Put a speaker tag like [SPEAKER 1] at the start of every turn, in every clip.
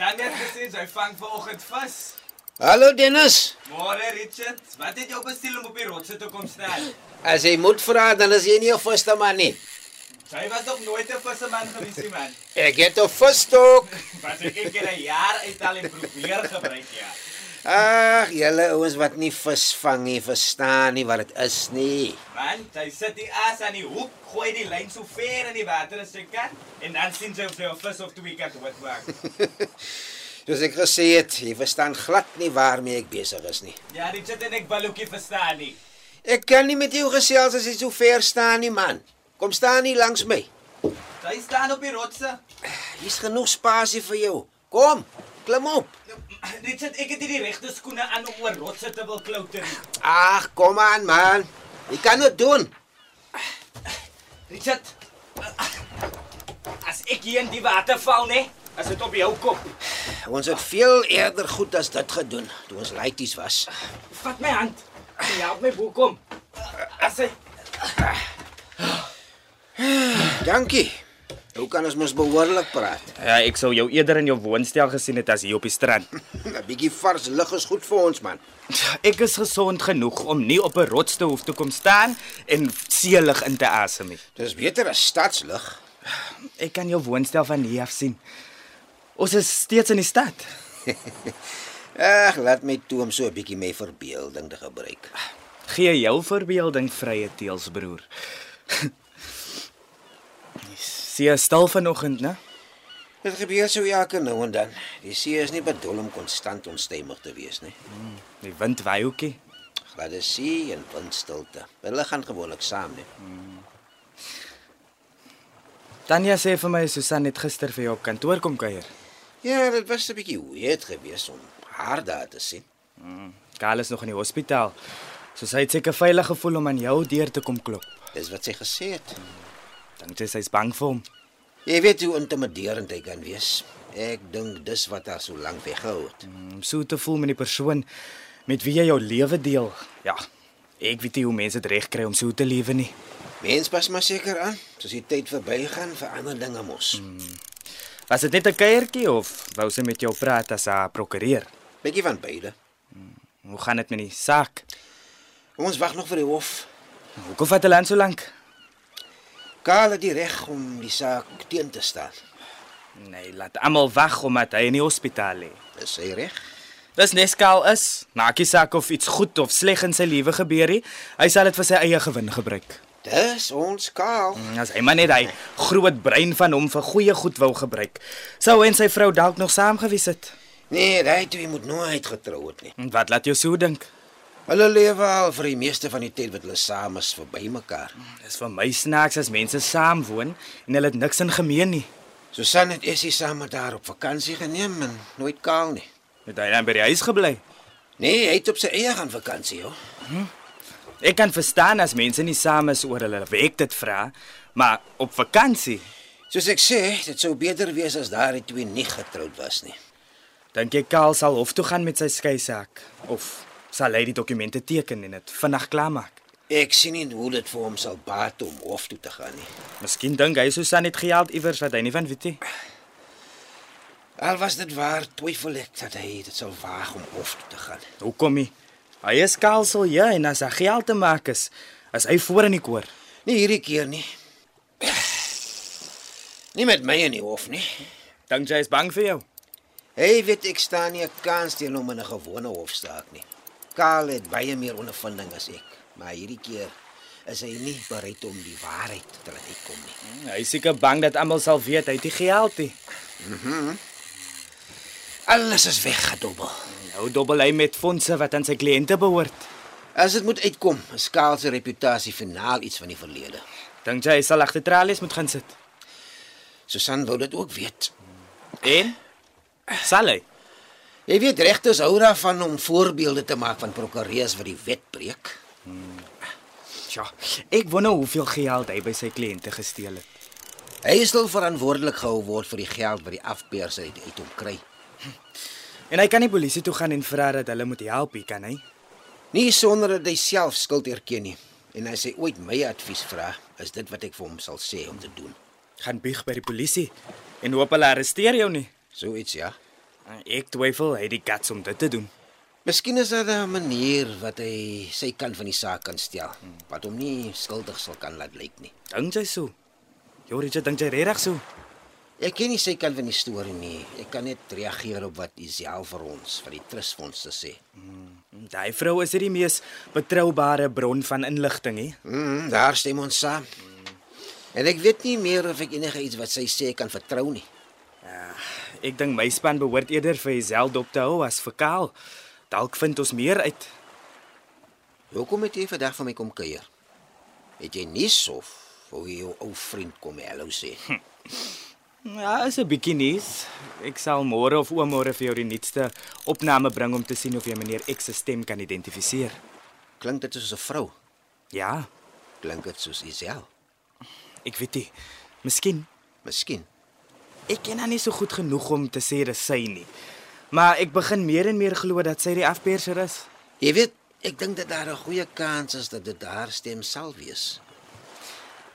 [SPEAKER 1] Dan het gesien jy vang vanoggend vis.
[SPEAKER 2] Hallo Dennis.
[SPEAKER 1] Môre Richard, wat het jou bestel om op die rotse te kom staan?
[SPEAKER 2] As jy moet vra dan is jy nie 'n vaste man nie.
[SPEAKER 1] Jy was er nog nooit 'n visseman gewees nie man.
[SPEAKER 2] Ek het 'n visstok.
[SPEAKER 1] Wat ek een keer 'n jaar uithaal en probeer gebruik ja.
[SPEAKER 2] Ag, julle ouens wat nie vis vang nie, verstaan nie wat dit is nie.
[SPEAKER 1] Man, jy sit ja die as aan die hoek, gooi die lyn so ver in die water as jy kan en dan sien jy of jy 'n vis of twee kan wat maak.
[SPEAKER 2] Soos ek gesê het, jy verstaan glad nie waarmee ek besig is nie.
[SPEAKER 1] Ja Richard en ek balookie verstaan nie.
[SPEAKER 2] Ek kan nie met jou gesels as jy so ver staan nie, man. Kom staan hier langs my.
[SPEAKER 1] Jy staan op die rotse.
[SPEAKER 2] Hier's genoeg spasie vir jou. Kom, klim op.
[SPEAKER 1] Ja, Richard, ek het hierdie regte skoene aan om oor rotse te wil klouter.
[SPEAKER 2] Ag, kom aan, man. Jy kan dit doen.
[SPEAKER 1] Richard, as ek hier in die water val, né? As dit op jou kop.
[SPEAKER 2] Ons het veel eerder goed as dit gedoen toe ons laities was.
[SPEAKER 1] Vat my hand. Jy help my boek om. As hy
[SPEAKER 2] Dankie. Hoe kan ons mos behoorlik praat?
[SPEAKER 1] Ja, ek sou jou eerder in jou woonstel gesien het as hier op die strand.
[SPEAKER 2] 'n Bietjie vars lug is goed vir ons man.
[SPEAKER 1] Ek is gesond genoeg om nie op 'n rots te hoef te kom staan en seelig in te asem nie.
[SPEAKER 2] Dis beter as stadslug.
[SPEAKER 1] Ek kan jou woonstel van hier af sien. Ons is steeds in die stad.
[SPEAKER 2] Ag, laat my toe om so 'n bietjie my verbeelding te gebruik.
[SPEAKER 1] Gee jou verbeelding vrye teels, broer. Sy is stil vanoggend, né?
[SPEAKER 2] Dit gebeur so elke nou en dan. Die see is nie bedoel om konstant onstuimig te wees nie.
[SPEAKER 1] Die wind waai ookie.
[SPEAKER 2] Gladde see en windstilte. Hulle gaan gewoonlik saam, nee.
[SPEAKER 1] Tanya sê vir my Susan het gister vir jou op kantoor kom kuier.
[SPEAKER 2] Ja, dit was 'n bietjie weird geweest om haar daar te sien.
[SPEAKER 1] Karl is nog in die hospitaal. So sy het seker veilig gevoel om aan jou deur te kom klop.
[SPEAKER 2] Dis wat sy gesê het.
[SPEAKER 1] Dink jy sy's bang vir hom?
[SPEAKER 2] Jy weet hoe intimiderend hy kan wees. Ek dink dis wat haar so lank weggehou het.
[SPEAKER 1] Om so te voel met die persoon met wie jy jou lewe deel. Ja. Ek weet nie hoe mense dit reg kry om so te lewe nie.
[SPEAKER 2] Mens pas maar seker aan, soos die tyd verbygaan, verander dinge mos.
[SPEAKER 1] Was dit net 'n kuiertjie of wou sy met jou praat as haar prokureur?
[SPEAKER 2] Bietjie van beide.
[SPEAKER 1] Hoe gaan dit met die saak?
[SPEAKER 2] Kom ons wag nog vir die hof.
[SPEAKER 1] Hoekom vat hulle aan so lank?
[SPEAKER 2] Karl het die reg om die saak teen te staan.
[SPEAKER 1] Nee, laat almal wag omdat hy in die hospitaal lê.
[SPEAKER 2] Dis sy reg.
[SPEAKER 1] Dis Neskaal is. Maakie saak of iets goed of sleg in sy lewe gebeur nie. Hy sal dit vir sy eie gewin gebruik.
[SPEAKER 2] Dis ons Karl.
[SPEAKER 1] En As hy maar net hy groot brein van hom vir goeie goed wou gebruik, sou hy en sy vrou dalk nog saam gewees het.
[SPEAKER 2] Nee, hy toe jy moet nooit getrou het nie.
[SPEAKER 1] En Wat laat jou so dink?
[SPEAKER 2] Hulle lewe al vir die meeste van die tyd wat hulle saam is verby mekaar.
[SPEAKER 1] Dis vir my snaaks as mense saam woon en hulle het niks in gemeen nie.
[SPEAKER 2] Susan het Essie saam met haar op vakansie geneem en nooit Karl nie.
[SPEAKER 1] Het hy dan by die huis gebly?
[SPEAKER 2] Nee, hy het op sy eie gaan vakansie, hoor.
[SPEAKER 1] Ek kan verstaan as mense nie saam is oor hulle werk dit vra, maar op vakansie
[SPEAKER 2] Soos ek sê, dit sou beter wees as daardie twee nie getroud was nie.
[SPEAKER 1] dink ek Kaal sal hof toe gaan met sy skei saak of sal hy die dokumente teken en dit vinnig klaarmaak.
[SPEAKER 2] Ek sien nie hoe dit vir hom sal baat om hof toe te gaan nie.
[SPEAKER 1] Miskien dink hy Susan het geld iewers wat hy nie van weet nie.
[SPEAKER 2] Al was dit waar, twyfel ek dat hy dit sal waag om hof toe te gaan.
[SPEAKER 1] Hoekom nie? Hy is kaalsel ja en as hy geld te maak is, as hy voor in die koor.
[SPEAKER 2] Nie hierdie keer nie. Nie met my in die hof nie.
[SPEAKER 1] Dink jy hy is bang vir jou?
[SPEAKER 2] Hy weet ek staan nie 'n kans teen hom in 'n gewone hofsaak nie. Karl het baie meer ondervinding as ek, maar hierdie keer is hy nie bereid om die waarheid te laat uitkom nie.
[SPEAKER 1] Hy is seker bang dat almal sal weet hy het die geld nie.
[SPEAKER 2] Alles is weggedobbel.
[SPEAKER 1] Nou dobbel hy met fondse wat aan sy kliënte behoort.
[SPEAKER 2] As dit moet uitkom, is Karl se reputasie finaal iets van die verlede.
[SPEAKER 1] Dink jy hy sal agter tralies moet gaan sit?
[SPEAKER 2] Susan wou dit ook weet.
[SPEAKER 1] En Sal hy?
[SPEAKER 2] Jy weet regters hou daarvan om voorbeelde te maak van prokureurs wat die wet breek.
[SPEAKER 1] Ja. Ek wonder hoeveel geld hy by sy kliënte gesteel het.
[SPEAKER 2] Hy is stil verantwoordelik gehou word vir die geld wat die afpers uit uit hom kry.
[SPEAKER 1] En hy kan nie polisie toe gaan en vra dat hulle moet help hier kan hy?
[SPEAKER 2] Nie sonder dat hy self skuld erken nie. En as hy ooit my advies vra, is dit wat ek vir hom sal sê om te doen.
[SPEAKER 1] Gaan bieg by die polisie en hoop hulle arresteer jou nie.
[SPEAKER 2] So iets ja.
[SPEAKER 1] Eh, Ek twyfel hy het die guts om dit te doen.
[SPEAKER 2] Miskien is daar 'n manier wat hy sy kant van die saak kan stel, wat hom nie skuldig sal kan laat lyk nie.
[SPEAKER 1] Dink jy so? Jou Richard dink jy regtig so?
[SPEAKER 2] Ek ken nie sy kant van die storie nie. Ek kan net reageer op wat Isel vir ons van die trustfonds te sê.
[SPEAKER 1] Hmm, Daai vrou is hierdie mees betroubare bron van inligting, hè?
[SPEAKER 2] Mm, daar stem ons saam. En ek weet nie meer of ek enige iets wat sy sê kan vertrou nie.
[SPEAKER 1] Eh, Ek dink my span behoort eerder vir Hazel dop te hou as vir Kaal. Dalk vind ons meer uit.
[SPEAKER 2] Hoekom het jy vandag van my kom kuier? Het jy nie sof wou jy jou ou vriend kom hallo sê?
[SPEAKER 1] Ja, is 'n bietjie nuus. Ek sal môre of oomôre vir jou die nuutste opname bring om te sien of jy meneer X se stem kan identifiseer.
[SPEAKER 2] Klink dit soos 'n vrou?
[SPEAKER 1] Ja,
[SPEAKER 2] Klink dit soos Isel?
[SPEAKER 1] ek weet nie. Miskien
[SPEAKER 2] Miskien.
[SPEAKER 1] ek ken haar nie so goed genoeg om te sê dis sy nie. Maar ek begin meer en meer glo dat sy die afperser is.
[SPEAKER 2] Jy weet, ek dink dat daar 'n goeie kans is dat dit haar stem sal wees.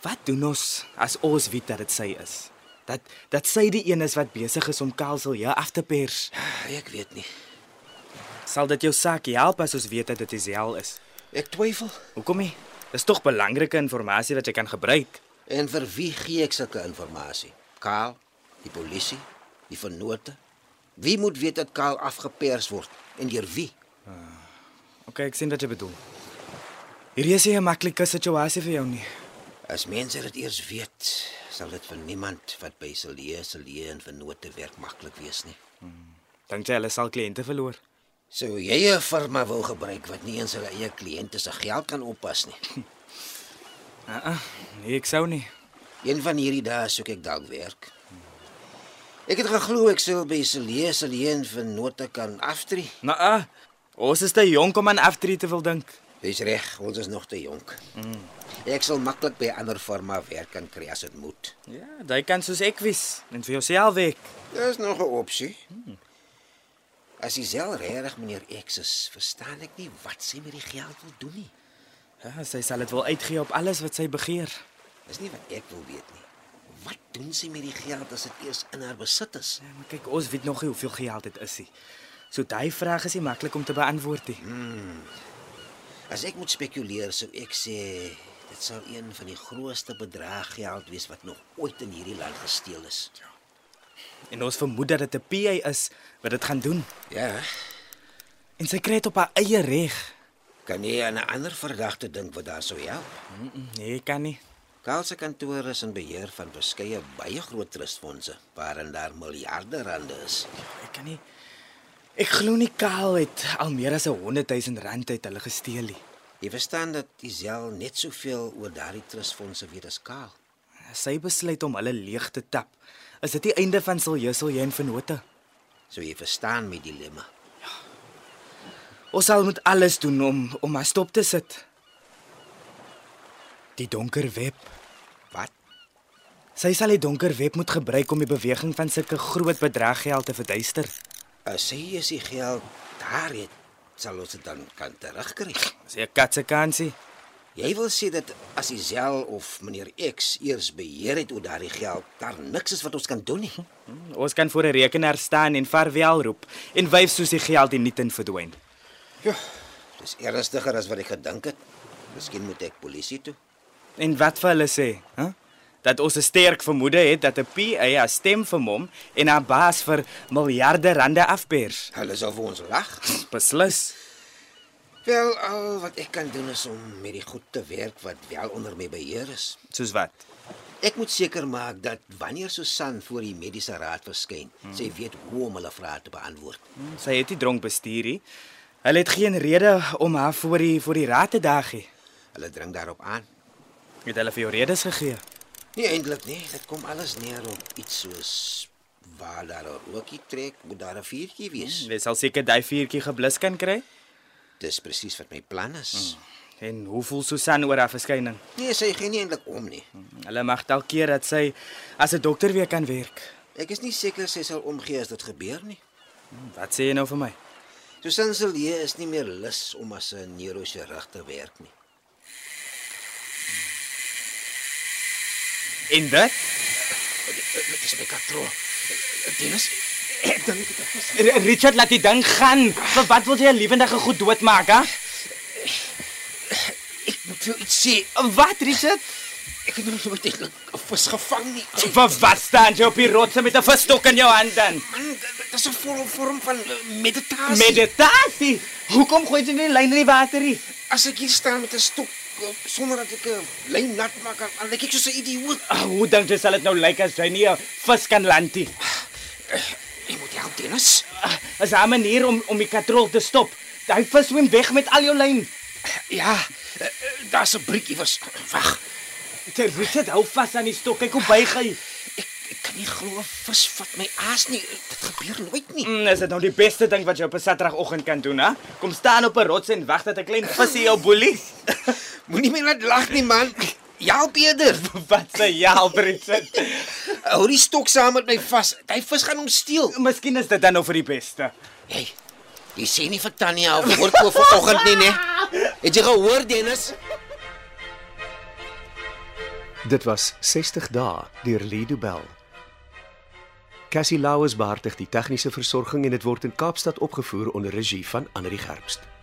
[SPEAKER 1] Wat doen ons as ons weet dat dit sy is? Dat dat sy die een is wat besig is om Kelsel hier af te pers.
[SPEAKER 2] Ek weet nie.
[SPEAKER 1] Sal dit jou saak help as ons weet dat dit Isel is?
[SPEAKER 2] Ek twyfel.
[SPEAKER 1] Hoekom nie? Dis tog belangrike inligting wat jy kan gebruik.
[SPEAKER 2] En vir wie gee ek sulke inligting? Kaal, die polisie, die vennote. Wie moet weet dat Kaal afgepers word en deur wie?
[SPEAKER 1] OK, ek sien wat jy bedoel. Hierdie is nie 'n maklike situasie vir jou nie.
[SPEAKER 2] As mense dit eers weet, sal dit vir niemand wat by Celie, Celie en vennote werk maklik wees nie.
[SPEAKER 1] Dink jy hulle sal kliënte verloor?
[SPEAKER 2] So jy 'n firma wil gebruik wat nie eens hulle eie kliënte se geld kan oppas nie.
[SPEAKER 1] Nee, ek sou nie.
[SPEAKER 2] Een van hierdie dae soek ek dalk werk. Ek het geglo ek sou by Celie alleen vir note kan aftree.
[SPEAKER 1] Nou, uh, ons is te jonk om aan aftree te wil dink.
[SPEAKER 2] Dis reg, ons is nog te jonk. Ek sal maklik by 'n ander firma werk kan kry as dit moet.
[SPEAKER 1] Ja, jy kan soos ek wys en vir jouself weg.
[SPEAKER 2] Dis nog 'n opsie. Hmm. As jy self regtig meneer X is, verstaan ek nie wat sy met die geld wil doen nie.
[SPEAKER 1] Ja, sy sal dit wil uitgee op alles wat sy begeer.
[SPEAKER 2] Dis nie wat ek wil weet nie. Wat doen sy met die geld as dit eers in haar besit is?
[SPEAKER 1] Ja, maar kyk, ons weet nog nie hoeveel geld dit is nie. So daai vraag is nie maklik om te beantwoord nie.
[SPEAKER 2] As ek moet spekuleer, sou ek sê dit sou een van die grootste bedrag geld wees wat nog ooit in hierdie land gesteel is.
[SPEAKER 1] En ons vermoed dat dit 'n PA is wat dit gaan doen.
[SPEAKER 2] Ja.
[SPEAKER 1] En sy kry dit op haar eie reg.
[SPEAKER 2] Kan jy aan 'n ander verdagte dink wat daar sou help?
[SPEAKER 1] Nee, ek kan nie.
[SPEAKER 2] Kaal se kantoor is in beheer van verskeie baie groot trustfondse waarin daar miljarde rande is.
[SPEAKER 1] Ek kan nie. Ek glo nie Kaal het al meer as 100 000 rand uit hulle gesteel nie.
[SPEAKER 2] Jy verstaan dat Isel net soveel oor daardie trustfondse weet as Kaal.
[SPEAKER 1] As Sy besluit om hulle leeg te tap. Is dit die einde van Siljussel jy en vennote?
[SPEAKER 2] So jy verstaan my dilemma.
[SPEAKER 1] Ons sal moet alles doen om om haar stop te sit. Die donker web.
[SPEAKER 2] Wat?
[SPEAKER 1] Sy sal die donker web moet gebruik om die beweging van sulke groot bedraggeld te verduister.
[SPEAKER 2] As sy is die geld Eh, daar het, sal ons dit dan kan terugkry.
[SPEAKER 1] Dis 'n katse kansie.
[SPEAKER 2] Jy wil sê dat as Isel of meneer X eers beheer het oor daardie geld, daar niks is wat ons kan doen nie.
[SPEAKER 1] Hm, Ons kan voor 'n rekenaar staan en vaarwel roep en wyf soos die geld die niet in verdwyn.
[SPEAKER 2] Ja, dis ernstiger as wat ek gedink het. Miskien moet ek polisie toe.
[SPEAKER 1] En wat vir hulle sê, hè? Dat ons 'n sterk vermoede het dat 'n PA haar stem vir hom en haar baas vir miljarde rande afpers.
[SPEAKER 2] Hulle sal vir ons lag.
[SPEAKER 1] Beslis.
[SPEAKER 2] Wel, al wat ek kan doen is om met die goed te werk wat wel onder my beheer is.
[SPEAKER 1] Soos wat?
[SPEAKER 2] Ek moet seker maak dat wanneer Susan voor die mediese raad verskyn, sy weet hoe om hulle vrae te beantwoord.
[SPEAKER 1] Sy het nie dronk bestuur nie. Hulle het geen rede om haar voor die voor die raad te daag nie.
[SPEAKER 2] Hulle dring daarop aan. Nee,
[SPEAKER 1] Het hulle vir jou redes gegee?
[SPEAKER 2] Nie eintlik nie, dit kom alles neer op iets soos Waar daar 'n rookie trek, moet daar 'n vuurtjie wees.
[SPEAKER 1] Jy sal seker daai vuurtjie geblus kan kry.
[SPEAKER 2] Dis presies wat my plan is.
[SPEAKER 1] En hoe voel Susan oor haar verskyning?
[SPEAKER 2] Nee, sy gee nie eintlik om nie.
[SPEAKER 1] Hulle mag dalk keer dat sy as 'n dokter weer kan werk.
[SPEAKER 2] Ek is nie seker sy sal omgee as dit gebeur nie.
[SPEAKER 1] Wat sê jy nou vir my?
[SPEAKER 2] Susan Silje is nie meer lus om as 'n neurochirurg te werk nie.
[SPEAKER 1] En dit?
[SPEAKER 2] Dit is my katro. Dennis, ek dink dit is
[SPEAKER 1] Richard laat die ding gaan. Vir wat wil jy 'n lewendige goed doodmaak, hè?
[SPEAKER 2] ek moet vir iets sê.
[SPEAKER 1] Wat, Richard?
[SPEAKER 2] Ek het nog nooit eintlik 'n vis gevang nie.
[SPEAKER 1] Vir wat staan jy op die rotse met 'n visstok in jou hand dan?
[SPEAKER 2] Man, dit is 'n volle vorm van eh, meditasie.
[SPEAKER 1] Meditasie. Hoekom gooi jy nie die lyn in die water nie?
[SPEAKER 2] As ek hier staan met 'n stok eh, sonder dat ek 'n lyn nat maak, dan dan lyk ek soos 'n idioot.
[SPEAKER 1] Oh, hoe dink jy sal dit nou lyk as jy nie 'n vis kan land nie?
[SPEAKER 2] Jy moet help, Dennis.
[SPEAKER 1] Ah, Is daar 'n manier om om die katrol te stop? Daai vis swem weg met al jou lyn.
[SPEAKER 2] Ja, eh, eh, daar's 'n briekie was. Wag.
[SPEAKER 1] Jy Richard hou vas aan die stok. Kyk hoe buig hy.
[SPEAKER 2] Ek, ek kan nie glo 'n vis vat my aas nie. Dit gebeur nooit nie.
[SPEAKER 1] Mm, is dit nou die beste ding wat jy op 'n Saterdagoggend kan doen, hè? Kom staan op 'n rots en wag dat 'n klein visie jou boelie.
[SPEAKER 2] Moenie my laat lag nie, man. Ja, help eerder.
[SPEAKER 1] wat sê jy, help, Richard?
[SPEAKER 2] Hou die stok saam met my vas. Hy vis gaan hom steel.
[SPEAKER 1] Miskien is dit dan nou vir die beste.
[SPEAKER 2] Hey. Jy sê nie vir Tanya of Worko vanoggend nie, né? Het jy gehoor, Dennis?
[SPEAKER 3] Dit was 60 dae deur Lido Bell. Cassie Lauers beheer die tegniese versorging en dit word in Kaapstad opgevoer onder regie van Anri Gerbst.